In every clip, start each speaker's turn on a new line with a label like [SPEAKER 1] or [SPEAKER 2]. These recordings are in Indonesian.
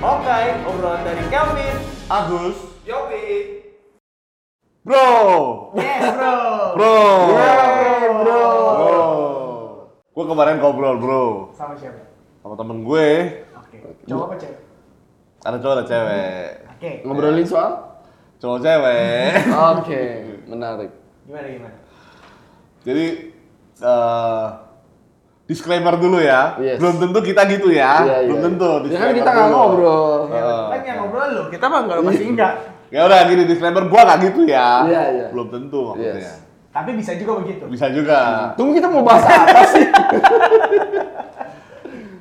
[SPEAKER 1] Oke, obrolan dari Kelvin,
[SPEAKER 2] Agus.
[SPEAKER 1] Yopi.
[SPEAKER 2] Bro.
[SPEAKER 1] Yes, bro.
[SPEAKER 2] Bro.
[SPEAKER 3] Iya,
[SPEAKER 1] Yeay, bro.
[SPEAKER 2] Bro. Gue kemarin ngobrol, Bro.
[SPEAKER 1] Sama siapa?
[SPEAKER 2] Sama temen gue.
[SPEAKER 1] Oke. Cowok apa cewek?
[SPEAKER 2] Ada cowok ada cewek.
[SPEAKER 1] Oke.
[SPEAKER 2] Eh.
[SPEAKER 3] Ngobrolin soal?
[SPEAKER 2] Cowok cewek.
[SPEAKER 3] Oke, menarik.
[SPEAKER 1] Gimana gimana?
[SPEAKER 2] Jadi eh disclaimer dulu ya.
[SPEAKER 3] Yes.
[SPEAKER 2] Belum tentu kita gitu ya.
[SPEAKER 3] Iya,
[SPEAKER 2] Belum
[SPEAKER 3] iya.
[SPEAKER 2] tentu.
[SPEAKER 3] Ya kan kita nggak ngobrol.
[SPEAKER 2] Iya.
[SPEAKER 1] Kan yang ngobrol lu, kita mah enggak pasti enggak.
[SPEAKER 2] Ya udah gini disclaimer gua nggak gitu ya.
[SPEAKER 3] Iya, iya.
[SPEAKER 2] Belum tentu maksudnya.
[SPEAKER 3] Yes.
[SPEAKER 1] Tapi bisa juga begitu.
[SPEAKER 2] Bisa juga.
[SPEAKER 3] Tunggu kita mau bahas apa sih?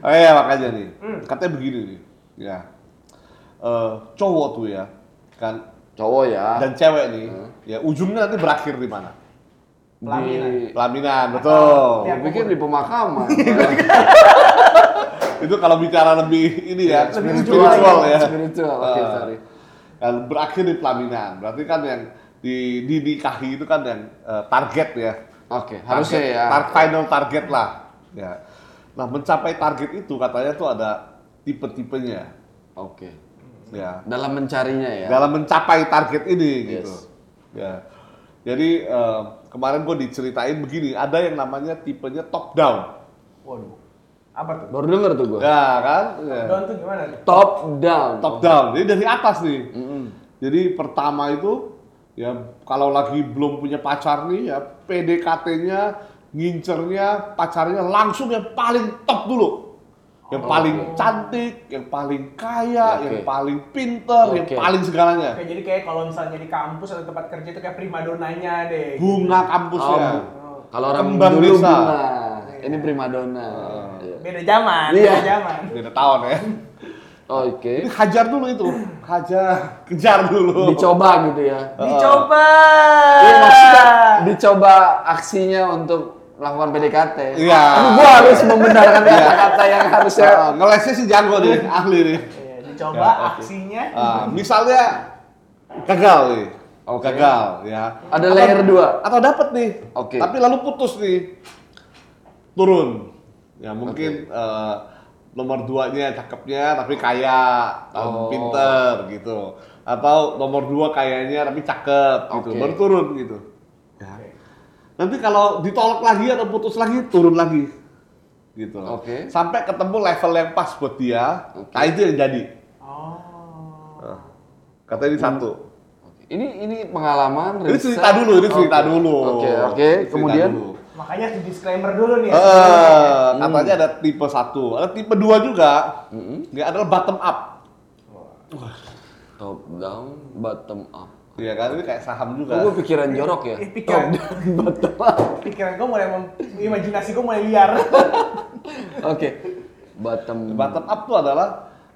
[SPEAKER 2] Oh iya makanya nih.
[SPEAKER 3] Hmm.
[SPEAKER 2] Katanya begini nih. Ya. Eh, cowok tuh ya kan
[SPEAKER 3] Cowok ya.
[SPEAKER 2] dan cewek nih
[SPEAKER 3] Hmm.
[SPEAKER 2] ya ujungnya nanti berakhir di mana?
[SPEAKER 1] Pelaminan.
[SPEAKER 3] Di...
[SPEAKER 2] Pelaminan, betul.
[SPEAKER 1] Iya.
[SPEAKER 3] Gua pikir di pemakaman.
[SPEAKER 2] Iya, Itu kalau bicara lebih ini ya,
[SPEAKER 3] Iya, Spiritual,
[SPEAKER 2] spiritual ya.
[SPEAKER 3] Spiritual. Oke,
[SPEAKER 2] Eh,
[SPEAKER 3] sorry.
[SPEAKER 2] kan berakhir di pelaminan. Berarti kan yang di dinikahi itu kan yang eh, target ya.
[SPEAKER 3] Oke, harusnya
[SPEAKER 2] Target-
[SPEAKER 3] ya.
[SPEAKER 2] tar- final target lah. Ya. Nah, mencapai target itu katanya tuh ada tipe-tipenya.
[SPEAKER 3] Oke.
[SPEAKER 2] Ya.
[SPEAKER 3] Dalam mencarinya ya.
[SPEAKER 2] dalam mencapai target ini gitu.
[SPEAKER 3] Yes.
[SPEAKER 2] Ya. Jadi eh, kemarin gue diceritain begini, ada yang namanya tipenya top down.
[SPEAKER 1] Waduh. Apa tuh?
[SPEAKER 3] Baru denger tuh gua.
[SPEAKER 2] Ya kan?
[SPEAKER 3] Iya.
[SPEAKER 2] Ya.
[SPEAKER 1] Don tuh gimana tuh?
[SPEAKER 3] Top down.
[SPEAKER 2] Top down. Jadi dari atas nih. Jadi pertama itu ya kalau lagi belum punya pacar nih ya PDKT-nya ngincernya pacarnya langsung yang paling top dulu. Yang paling cantik, yang paling kaya,
[SPEAKER 3] Oh. Oke.
[SPEAKER 2] yang paling pinter, yang
[SPEAKER 3] Oke.
[SPEAKER 2] paling segalanya.
[SPEAKER 1] Oke, jadi kayak kalau misalnya di kampus atau tempat kerja itu kayak primadonanya deh.
[SPEAKER 2] Bunga kampusnya.
[SPEAKER 3] Oh, Kalau orang
[SPEAKER 2] Kembang
[SPEAKER 3] dulu
[SPEAKER 2] desa. Ah.
[SPEAKER 3] bunga. Ini primadona. Iya.
[SPEAKER 1] Beda zaman,
[SPEAKER 3] Iya.
[SPEAKER 1] beda zaman.
[SPEAKER 2] Beda tahun ya.
[SPEAKER 3] Oke.
[SPEAKER 2] Ini hajar dulu itu, hajar, kejar dulu.
[SPEAKER 3] Dicoba gitu ya.
[SPEAKER 1] Dicoba.
[SPEAKER 3] Iya
[SPEAKER 2] Eh.
[SPEAKER 3] maksudnya dicoba aksinya untuk melakukan PDKT.
[SPEAKER 2] Iya.
[SPEAKER 3] Aduh, Kan gua harus membenarkan kata-kata yang harusnya.
[SPEAKER 2] Ah, ngelesnya si jago nih, ahli nih.
[SPEAKER 1] Iya, dicoba
[SPEAKER 2] Ya, oke.
[SPEAKER 1] aksinya.
[SPEAKER 2] Ah, misalnya gagal nih,
[SPEAKER 3] Oke.
[SPEAKER 2] gagal ya.
[SPEAKER 3] Ada layer dua.
[SPEAKER 2] Atau dapat nih,
[SPEAKER 3] Oke.
[SPEAKER 2] tapi lalu putus nih, turun. Ya mungkin eh, nomor duanya cakepnya tapi kaya, tapi
[SPEAKER 3] Oh.
[SPEAKER 2] pinter gitu. Atau nomor dua kayanya tapi cakep gitu,
[SPEAKER 3] Oke.
[SPEAKER 2] baru turun gitu. Ya. Nanti kalau ditolak lagi atau putus lagi, turun lagi. Gitu.
[SPEAKER 3] Oke.
[SPEAKER 2] Sampai ketemu level yang pas buat dia, nah itu yang jadi.
[SPEAKER 1] Oh.
[SPEAKER 2] Nah, Katanya
[SPEAKER 3] Hmm.
[SPEAKER 2] ini satu.
[SPEAKER 3] Ini ini pengalaman.
[SPEAKER 2] Ini
[SPEAKER 3] riset.
[SPEAKER 2] cerita dulu, ini cerita
[SPEAKER 3] Oke.
[SPEAKER 2] dulu.
[SPEAKER 3] Oke
[SPEAKER 2] Ini
[SPEAKER 3] oke.
[SPEAKER 2] cerita
[SPEAKER 3] Kemudian Iya.
[SPEAKER 2] dulu.
[SPEAKER 1] Makanya di disclaimer dulu nih. ya.
[SPEAKER 2] Eh,
[SPEAKER 1] sebelumnya.
[SPEAKER 2] katanya
[SPEAKER 3] Hmm.
[SPEAKER 2] ada tipe satu, ada tipe dua juga. Dia adalah bottom up.
[SPEAKER 3] top down bottom up.
[SPEAKER 2] Iya kan, ini kayak saham juga.
[SPEAKER 3] Kok gue pikiran jorok ya?
[SPEAKER 1] Eh, pikiran.
[SPEAKER 3] Top down bottom up.
[SPEAKER 1] Pikiran gue mulai mem- imajinasi gue mulai liar.
[SPEAKER 3] Oke. Bottom.
[SPEAKER 2] Bottom up tuh adalah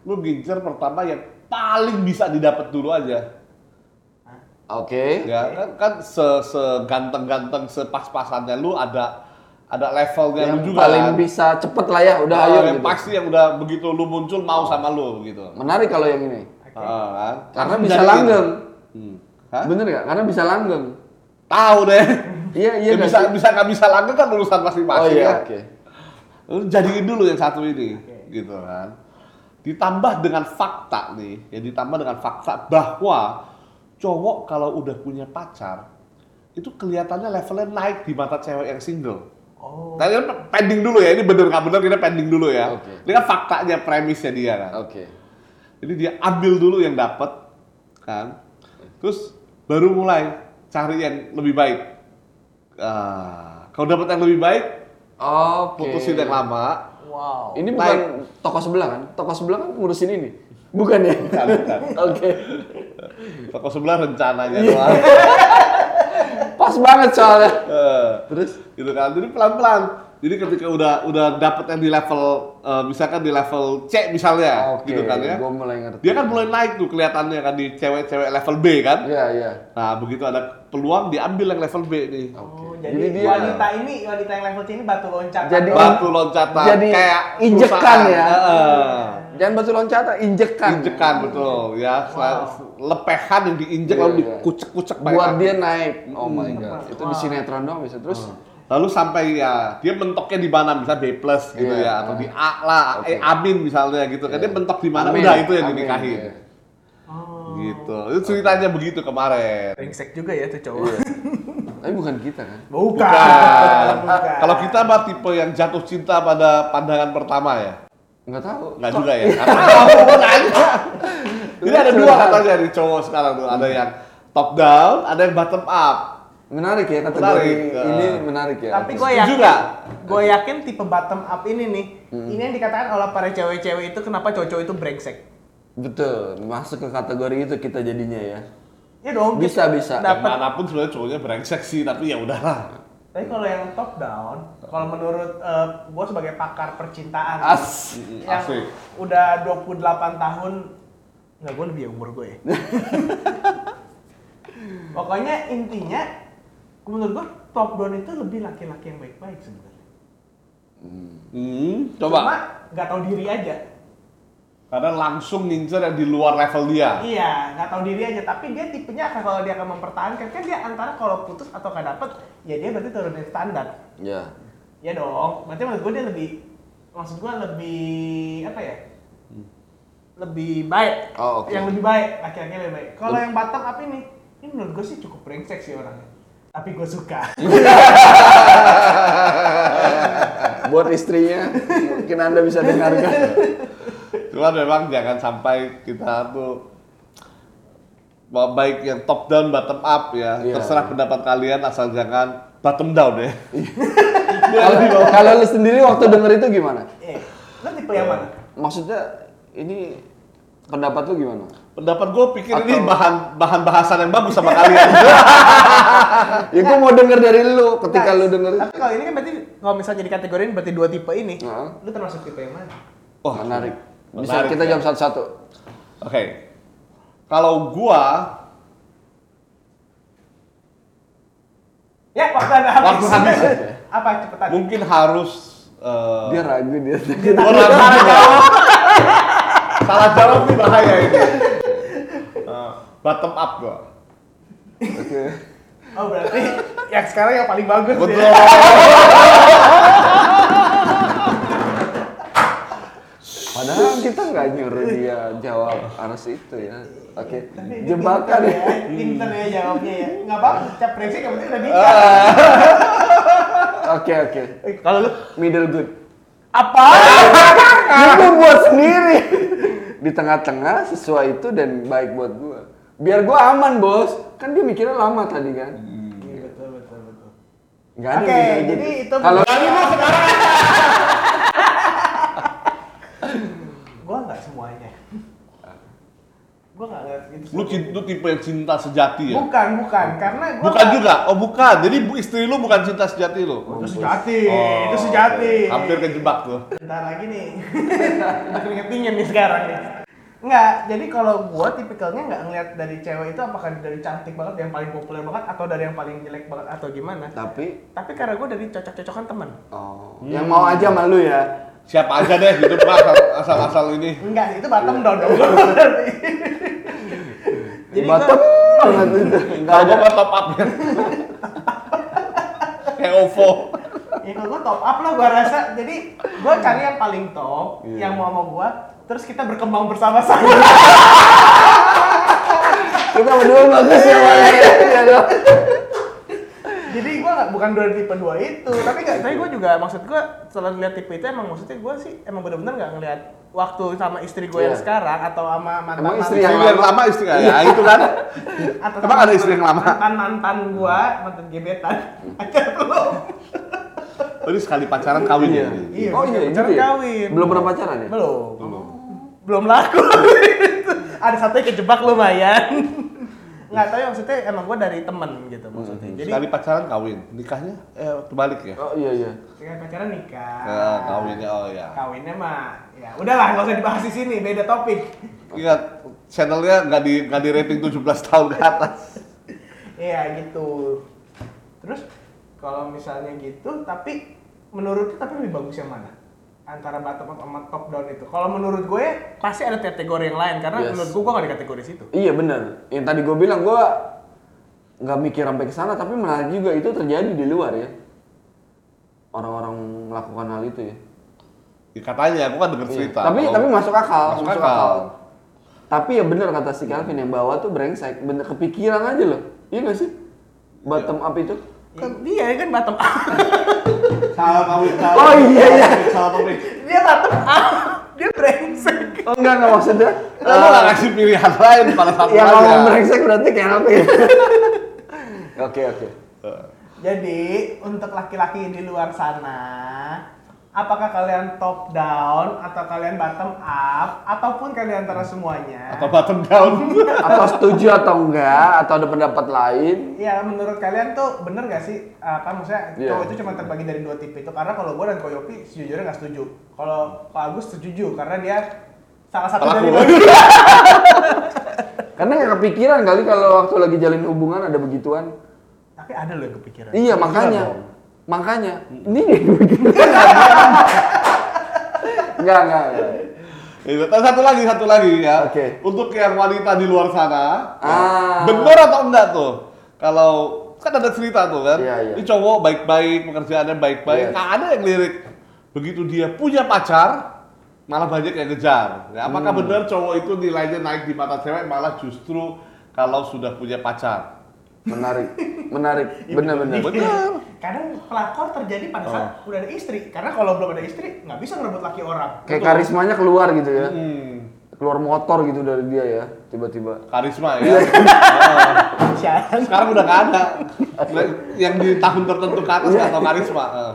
[SPEAKER 2] lu gincer pertama yang paling bisa didapat dulu aja.
[SPEAKER 3] Oke.
[SPEAKER 2] Ya kan, kan se- seganteng-ganteng, sepas-pasannya lu ada ada levelnya
[SPEAKER 3] Yang
[SPEAKER 2] lu juga
[SPEAKER 3] paling
[SPEAKER 2] kan.
[SPEAKER 3] bisa cepet lah ya. Udah
[SPEAKER 2] Ah,
[SPEAKER 3] ayo
[SPEAKER 2] yang
[SPEAKER 3] gitu.
[SPEAKER 2] pasti yang udah begitu lu muncul mau sama lu gitu.
[SPEAKER 3] Menarik kalau yang ini.
[SPEAKER 2] Ah, kan?
[SPEAKER 3] Karena
[SPEAKER 2] Langsung
[SPEAKER 3] bisa
[SPEAKER 2] jadiin.
[SPEAKER 3] langgeng.
[SPEAKER 2] Hmm. Hah?
[SPEAKER 3] Bener nggak? Karena bisa langgeng.
[SPEAKER 2] Tahu deh.
[SPEAKER 3] Iya iya.
[SPEAKER 2] Ya,
[SPEAKER 3] nggak
[SPEAKER 2] bisa
[SPEAKER 3] sih?
[SPEAKER 2] bisa nggak bisa langgeng kan urusan
[SPEAKER 3] Oh
[SPEAKER 2] masing-masing
[SPEAKER 3] iya.
[SPEAKER 2] ya.
[SPEAKER 3] Oke.
[SPEAKER 2] Lu jadiin dulu yang satu ini,
[SPEAKER 1] Oke.
[SPEAKER 2] gitu kan. Ditambah dengan fakta nih, ya ditambah dengan fakta bahwa cowok kalau udah punya pacar itu kelihatannya levelnya naik di mata cewek yang single.
[SPEAKER 1] Oh.
[SPEAKER 2] Tadi kan pending dulu ya, ini bener nggak bener kita pending dulu ya.
[SPEAKER 3] Oke. Oh.
[SPEAKER 2] Ini kan faktanya, premisnya dia kan.
[SPEAKER 3] Oke.
[SPEAKER 2] Jadi dia ambil dulu yang dapat, kan. Terus baru mulai cari yang lebih baik. Ah, kalau dapat yang lebih baik,
[SPEAKER 3] Oh, Oke.
[SPEAKER 2] putusin yang lama,
[SPEAKER 1] Wow.
[SPEAKER 3] Ini bukan toko sebelah kan? Toko sebelah kan ngurusin ini. Bukan ya?
[SPEAKER 2] Bukan, bukan.
[SPEAKER 3] Oke.
[SPEAKER 2] Toko sebelah rencananya
[SPEAKER 3] Iya.
[SPEAKER 2] doang.
[SPEAKER 3] Pas banget soalnya.
[SPEAKER 2] Eh,
[SPEAKER 3] Terus
[SPEAKER 2] gitu kan. Jadi pelan-pelan. Jadi ketika udah udah dapet yang di level eh, misalkan di level C misalnya
[SPEAKER 3] oke,
[SPEAKER 2] gitu kan ya.
[SPEAKER 3] gua mulai ngerti.
[SPEAKER 2] Dia kan mulai naik tuh kelihatannya kan di cewek-cewek level B kan.
[SPEAKER 3] Iya, iya.
[SPEAKER 2] Nah, begitu ada peluang diambil yang level B nih.
[SPEAKER 3] Oke.
[SPEAKER 1] Oh, jadi,
[SPEAKER 3] Jadi dia
[SPEAKER 1] wanita ini, wanita yang level C ini batu loncat.
[SPEAKER 3] Jadi-
[SPEAKER 2] Batu loncatan
[SPEAKER 3] Jadi
[SPEAKER 2] kayak
[SPEAKER 3] injekan
[SPEAKER 2] perusahaan.
[SPEAKER 3] ya.
[SPEAKER 2] Heeh.
[SPEAKER 3] Jangan batu loncatan, injekan.
[SPEAKER 2] Injekan betul ya. Sel- Lepehan yang diinjek
[SPEAKER 3] Iya,
[SPEAKER 2] lalu
[SPEAKER 3] iya.
[SPEAKER 2] dikucek-kucek pakai
[SPEAKER 3] Buat
[SPEAKER 2] kaki.
[SPEAKER 1] Hmm.
[SPEAKER 3] dia naik. Oh my god. Itu di sinetron doang bisa terus.
[SPEAKER 2] Lalu sampai ya dia mentoknya di mana misalnya B plus gitu
[SPEAKER 3] Iya.
[SPEAKER 2] ya atau di A lah, eh Amin misalnya gitu. Kan dia mentok di mana
[SPEAKER 3] Amin.
[SPEAKER 2] udah itu yang
[SPEAKER 3] Amin,
[SPEAKER 2] dinikahin.
[SPEAKER 3] iya.
[SPEAKER 1] Oh.
[SPEAKER 2] Gitu. Itu ceritanya begitu kemarin.
[SPEAKER 1] Ringsek juga ya tuh cowok.
[SPEAKER 3] Iya. Tapi bukan kita kan.
[SPEAKER 1] Bukan.
[SPEAKER 2] Bukan.
[SPEAKER 1] Bukan.
[SPEAKER 2] Kalau kita mah tipe yang jatuh cinta pada pandangan pertama ya.
[SPEAKER 3] Nggak tahu.
[SPEAKER 2] Enggak juga ya. Karena aku nanya. Jadi ada dua katanya di cowok sekarang tuh. Ada yang top down, ada yang bottom up.
[SPEAKER 3] Menarik ya kategori
[SPEAKER 2] Menarik, eh.
[SPEAKER 3] ini menarik ya.
[SPEAKER 1] Tapi gue
[SPEAKER 2] Setuju
[SPEAKER 1] yakin,
[SPEAKER 2] nggak?
[SPEAKER 1] gue yakin tipe bottom up ini nih,
[SPEAKER 3] Hmm.
[SPEAKER 1] ini yang dikatakan oleh para cewek-cewek itu kenapa cowok itu brengsek.
[SPEAKER 3] Betul, masuk ke kategori itu kita jadinya ya.
[SPEAKER 1] Ya dong.
[SPEAKER 3] Bisa,
[SPEAKER 1] kita
[SPEAKER 3] bisa.
[SPEAKER 2] Yang
[SPEAKER 1] Dapat.
[SPEAKER 2] manapun sebenarnya cowoknya brengsek sih, tapi ya udahlah.
[SPEAKER 1] Tapi kalau yang top down, kalau menurut gue sebagai pakar percintaan,
[SPEAKER 3] As.
[SPEAKER 1] yang
[SPEAKER 2] Asik.
[SPEAKER 1] udah 28 tahun, nggak gue lebih ya umur gue. ya. Pokoknya intinya, menurut gue top down itu lebih laki-laki yang baik-baik sebenarnya.
[SPEAKER 2] Hmm,
[SPEAKER 1] Cuma
[SPEAKER 2] coba.
[SPEAKER 1] nggak tahu diri aja.
[SPEAKER 2] Karena langsung ngincer yang di luar level dia.
[SPEAKER 1] Iya, nggak tahu diri aja. Tapi dia tipenya akan kalau dia akan mempertahankan kan dia antara kalau putus atau nggak dapet, ya dia berarti turunin standar.
[SPEAKER 3] Ya.
[SPEAKER 1] Ya dong. Berarti menurut gue dia lebih, maksud gue lebih apa ya? Lebih baik.
[SPEAKER 3] Oh, oke.
[SPEAKER 1] Yang lebih baik laki-laki lebih baik. Kalau yang Batam apa ini? Ini menurut gue sih cukup brengsek sih orangnya. Tapi gue suka.
[SPEAKER 3] Buat istrinya, mungkin Anda bisa dengarkan.
[SPEAKER 2] Cuman memang jangan sampai kita tuh mau baik yang top down bottom up ya.
[SPEAKER 3] Iya.
[SPEAKER 2] Terserah pendapat kalian asal jangan bottom down ya.
[SPEAKER 3] Kalau kalau lu sendiri waktu denger itu gimana?
[SPEAKER 1] eh, lo tipe yang mana?
[SPEAKER 3] Maksudnya ini pendapat lu gimana?
[SPEAKER 2] pendapat gue pikir ini
[SPEAKER 3] Atau-
[SPEAKER 2] bahan bahan bahasan yang bagus sama kalian.
[SPEAKER 3] Ya gua mau denger dari lu ketika lu denger itu.
[SPEAKER 1] Tapi kalau ini kan berarti kalau misalnya jadi kategori berarti dua tipe ini.
[SPEAKER 3] Nah.
[SPEAKER 1] Lu termasuk tipe yang mana?
[SPEAKER 2] Wah,
[SPEAKER 3] Oh, Menarik. Bisa
[SPEAKER 2] menarik
[SPEAKER 3] kita
[SPEAKER 2] ya.
[SPEAKER 3] jam satu-satu.
[SPEAKER 2] Oke. Kalau gua
[SPEAKER 1] Ya, waktu anda habis.
[SPEAKER 2] Waktu habis.
[SPEAKER 1] Apa cepetan?
[SPEAKER 2] mungkin harus eh,
[SPEAKER 3] Dia ragu dia.
[SPEAKER 2] gua ragu juga. Salah jawab nih bahaya ini. Eh, bottom up gua.
[SPEAKER 3] Oke.
[SPEAKER 1] Oh, berarti yang sekarang yang paling bagus
[SPEAKER 2] Betul.
[SPEAKER 1] ya.
[SPEAKER 3] Padahal kita nggak nyuruh dia jawab harus itu ya. Oke.
[SPEAKER 1] Tapi ini
[SPEAKER 3] Jebakan
[SPEAKER 1] pinter
[SPEAKER 3] ya.
[SPEAKER 1] Pinter ya jawabnya ya. Enggak apa-apa, cap brengsek yang penting udah
[SPEAKER 3] Ah.
[SPEAKER 1] nikah.
[SPEAKER 3] Oke oke.
[SPEAKER 1] Eh, Kalau lu
[SPEAKER 3] Middle good.
[SPEAKER 1] apa? Iya.
[SPEAKER 3] Itu buat sendiri. Di tengah-tengah sesuai itu dan baik buat gua. Biar gua aman bos. Kan dia mikirnya lama tadi kan.
[SPEAKER 1] Iya, betul, betul, betul. Iya,
[SPEAKER 3] Nggak ada
[SPEAKER 1] Oke,
[SPEAKER 3] middle good.
[SPEAKER 1] jadi itu
[SPEAKER 3] kalau
[SPEAKER 1] gua enggak semuanya. Gua enggak ngeliat itu.
[SPEAKER 2] Lu, cin- lu tipe yang cinta sejati ya?
[SPEAKER 1] Bukan, bukan. Karena gua
[SPEAKER 2] Bukan juga. Oh, bukan. Jadi bu- istri lu bukan cinta sejati lu.
[SPEAKER 1] Itu sejati,
[SPEAKER 2] Oh,
[SPEAKER 1] itu sejati.
[SPEAKER 2] oke. Hampir kejebak tuh.
[SPEAKER 1] Bentar lagi nih. Udah keringet dingin nih sekarang nih. Enggak, jadi kalau gua tipikalnya nggak ngeliat dari cewek itu apakah dari cantik banget, yang paling populer banget, atau dari yang paling jelek banget, atau gimana.
[SPEAKER 3] tapi
[SPEAKER 1] Tapi karena gua dari cocok-cocokan temen.
[SPEAKER 3] oh, yang mau aja malu ya.
[SPEAKER 2] Siapa aja deh gitu Pak, asal- asal-asal ini.
[SPEAKER 1] Enggak, itu bottom down dong. jadi gua-
[SPEAKER 3] Bottom banget itu. Nggak
[SPEAKER 2] Kalau
[SPEAKER 3] ada.
[SPEAKER 2] gua mah top up ya. Kayak OVO.
[SPEAKER 1] ya kalau gua top up lah gua rasa. Jadi gua cari yang paling top, yang mau sama gua, terus kita berkembang bersama-sama.
[SPEAKER 3] Kita berdua bagus ya Pak. Iya, dong.
[SPEAKER 1] jadi gue nggak bukan dari tipe dua itu tapi nggak tapi gue juga maksud gue setelah lihat tipe itu emang maksudnya gue sih emang bener-bener nggak ngelihat waktu sama istri gue yang
[SPEAKER 3] Iya.
[SPEAKER 1] sekarang atau sama mantan
[SPEAKER 3] Emang istri
[SPEAKER 2] Istri
[SPEAKER 3] yang
[SPEAKER 2] yang lama istri ya, ya itu kan.
[SPEAKER 1] atau
[SPEAKER 2] Emang ada istri yang lama?
[SPEAKER 1] mantan mantan gue mantan gebetan ada belum
[SPEAKER 2] Oh, Ini sekali pacaran kawin ya.
[SPEAKER 1] Iya,
[SPEAKER 3] Oh iya,
[SPEAKER 1] pacaran
[SPEAKER 3] gitu ya?
[SPEAKER 1] kawin.
[SPEAKER 3] Belum pernah pacaran ya?
[SPEAKER 1] belum belum laku ada satu yang kejebak lumayan nggak tapi maksudnya emang gue dari temen gitu maksudnya jadi
[SPEAKER 2] Sekali pacaran kawin, nikahnya eh kebalik ya.
[SPEAKER 3] Oh iya iya.
[SPEAKER 1] dengan pacaran nikah
[SPEAKER 2] Nah, kawinnya oh ya.
[SPEAKER 1] kawinnya mah ya udahlah nggak usah dibahas di sini beda topik
[SPEAKER 2] Ingat channelnya nggak di nggak di rating 17 tahun ke atas.
[SPEAKER 1] Iya gitu. Terus kalau misalnya gitu, tapi menurut lu tapi lebih bagus yang mana? Antara bottom up sama top down itu. Kalau menurut gue pasti ada kategori yang lain karena
[SPEAKER 3] Yes.
[SPEAKER 1] menurut gue gue gak di kategori situ.
[SPEAKER 3] Iya benar. Yang tadi gue bilang gue nggak mikir sampai ke sana tapi menarik juga itu terjadi di luar ya. orang-orang melakukan hal itu ya.
[SPEAKER 2] Ya, katanya, aku kan denger
[SPEAKER 3] Iya.
[SPEAKER 2] cerita.
[SPEAKER 3] Tapi
[SPEAKER 2] Kalau-
[SPEAKER 3] tapi masuk akal,
[SPEAKER 2] Masuk
[SPEAKER 3] masuk,
[SPEAKER 2] akal.
[SPEAKER 3] akal. Tapi ya bener kata si Calvin yang bawah tuh brengsek, bener kepikiran aja loh. Iya nggak sih? Bottom up itu.
[SPEAKER 2] Iya.
[SPEAKER 1] Kan dia kan bottom up.
[SPEAKER 2] Salah pamit, salah.
[SPEAKER 3] Oh, iya, iya.
[SPEAKER 2] Salah pamit.
[SPEAKER 1] dia bottom up. Dia brengsek.
[SPEAKER 3] Oh enggak enggak maksudnya.
[SPEAKER 2] Kenapa Eh, nggak ngasih pilihan lain pada satu
[SPEAKER 3] ya
[SPEAKER 2] aja?
[SPEAKER 3] kalau brengsek berarti ya? Calvin. Oke oke.
[SPEAKER 2] Eh,
[SPEAKER 1] Jadi untuk laki-laki di luar sana, apakah kalian top down atau kalian bottom up ataupun kalian antara semuanya?
[SPEAKER 2] Atau bottom down.
[SPEAKER 3] Atau setuju atau enggak atau ada pendapat lain?
[SPEAKER 1] Ya menurut kalian tuh bener gak sih apa maksudnya
[SPEAKER 3] Iya.
[SPEAKER 1] cowok itu cuma terbagi dari dua tipe itu karena kalau gue dan Koyopi sejujurnya nggak setuju. Kalau Pak Agus setuju karena dia salah satu dari
[SPEAKER 2] Pelaku.
[SPEAKER 1] dua.
[SPEAKER 3] Karena nggak kepikiran kali kalau waktu lagi jalin hubungan ada begituan.
[SPEAKER 1] Tapi ada loh yang kepikiran.
[SPEAKER 3] Iya makanya, makanya ini dia kepikiran. Enggak enggak. enggak.
[SPEAKER 2] Itu. Iya, Terus satu lagi, satu lagi ya.
[SPEAKER 3] Oke.
[SPEAKER 2] Untuk yang wanita di luar sana, ya,
[SPEAKER 3] Ah.
[SPEAKER 2] bener atau enggak tuh? Kalau kan ada cerita tuh kan,
[SPEAKER 3] Iya, iya.
[SPEAKER 2] ini cowok baik-baik, pekerjaannya baik-baik,
[SPEAKER 3] Iya.
[SPEAKER 2] nggak ada yang lirik. Begitu dia punya pacar, malah banyak yang ngejar. Ya, apakah benar cowok itu nilainya naik di mata cewek malah justru kalau sudah punya pacar?
[SPEAKER 3] Menarik, menarik, benar-benar.
[SPEAKER 2] Bener.
[SPEAKER 1] Kadang pelakor terjadi pada saat
[SPEAKER 3] Oh.
[SPEAKER 1] udah ada istri karena kalau belum ada istri nggak bisa ngerebut laki orang.
[SPEAKER 3] Kayak karismanya keluar gitu ya,
[SPEAKER 2] Hmm,
[SPEAKER 3] keluar motor gitu dari dia ya, tiba-tiba.
[SPEAKER 2] karisma
[SPEAKER 1] Iya.
[SPEAKER 2] ya. Oh.
[SPEAKER 1] Sialan.
[SPEAKER 2] sekarang udah nggak ada yang di tahun tertentu ke atas atau karisma Eh.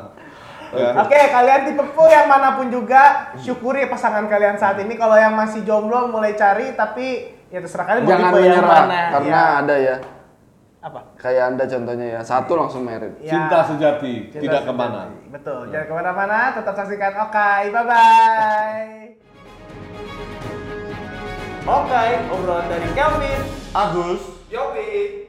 [SPEAKER 2] Ya.
[SPEAKER 1] Oke, kalian tipe pu yang manapun juga, syukuri pasangan kalian saat ini. Kalau yang masih jomblo mulai cari, tapi ya terserah kalian mau
[SPEAKER 3] Jangan
[SPEAKER 1] tipe yang
[SPEAKER 3] menyerah,
[SPEAKER 1] mana.
[SPEAKER 3] karena
[SPEAKER 1] Ya.
[SPEAKER 3] ada ya,
[SPEAKER 1] apa?
[SPEAKER 3] kayak anda contohnya ya, satu langsung merit.
[SPEAKER 1] Ya,
[SPEAKER 2] cinta sejati
[SPEAKER 1] cinta
[SPEAKER 2] tidak
[SPEAKER 1] sejati.
[SPEAKER 2] kemana
[SPEAKER 1] Betul,
[SPEAKER 3] Iya.
[SPEAKER 1] jangan kemana-mana, tetap saksikan Okai. Bye-bye. Okai, obrolan dari Kelvin.
[SPEAKER 2] Agus
[SPEAKER 1] Yopi.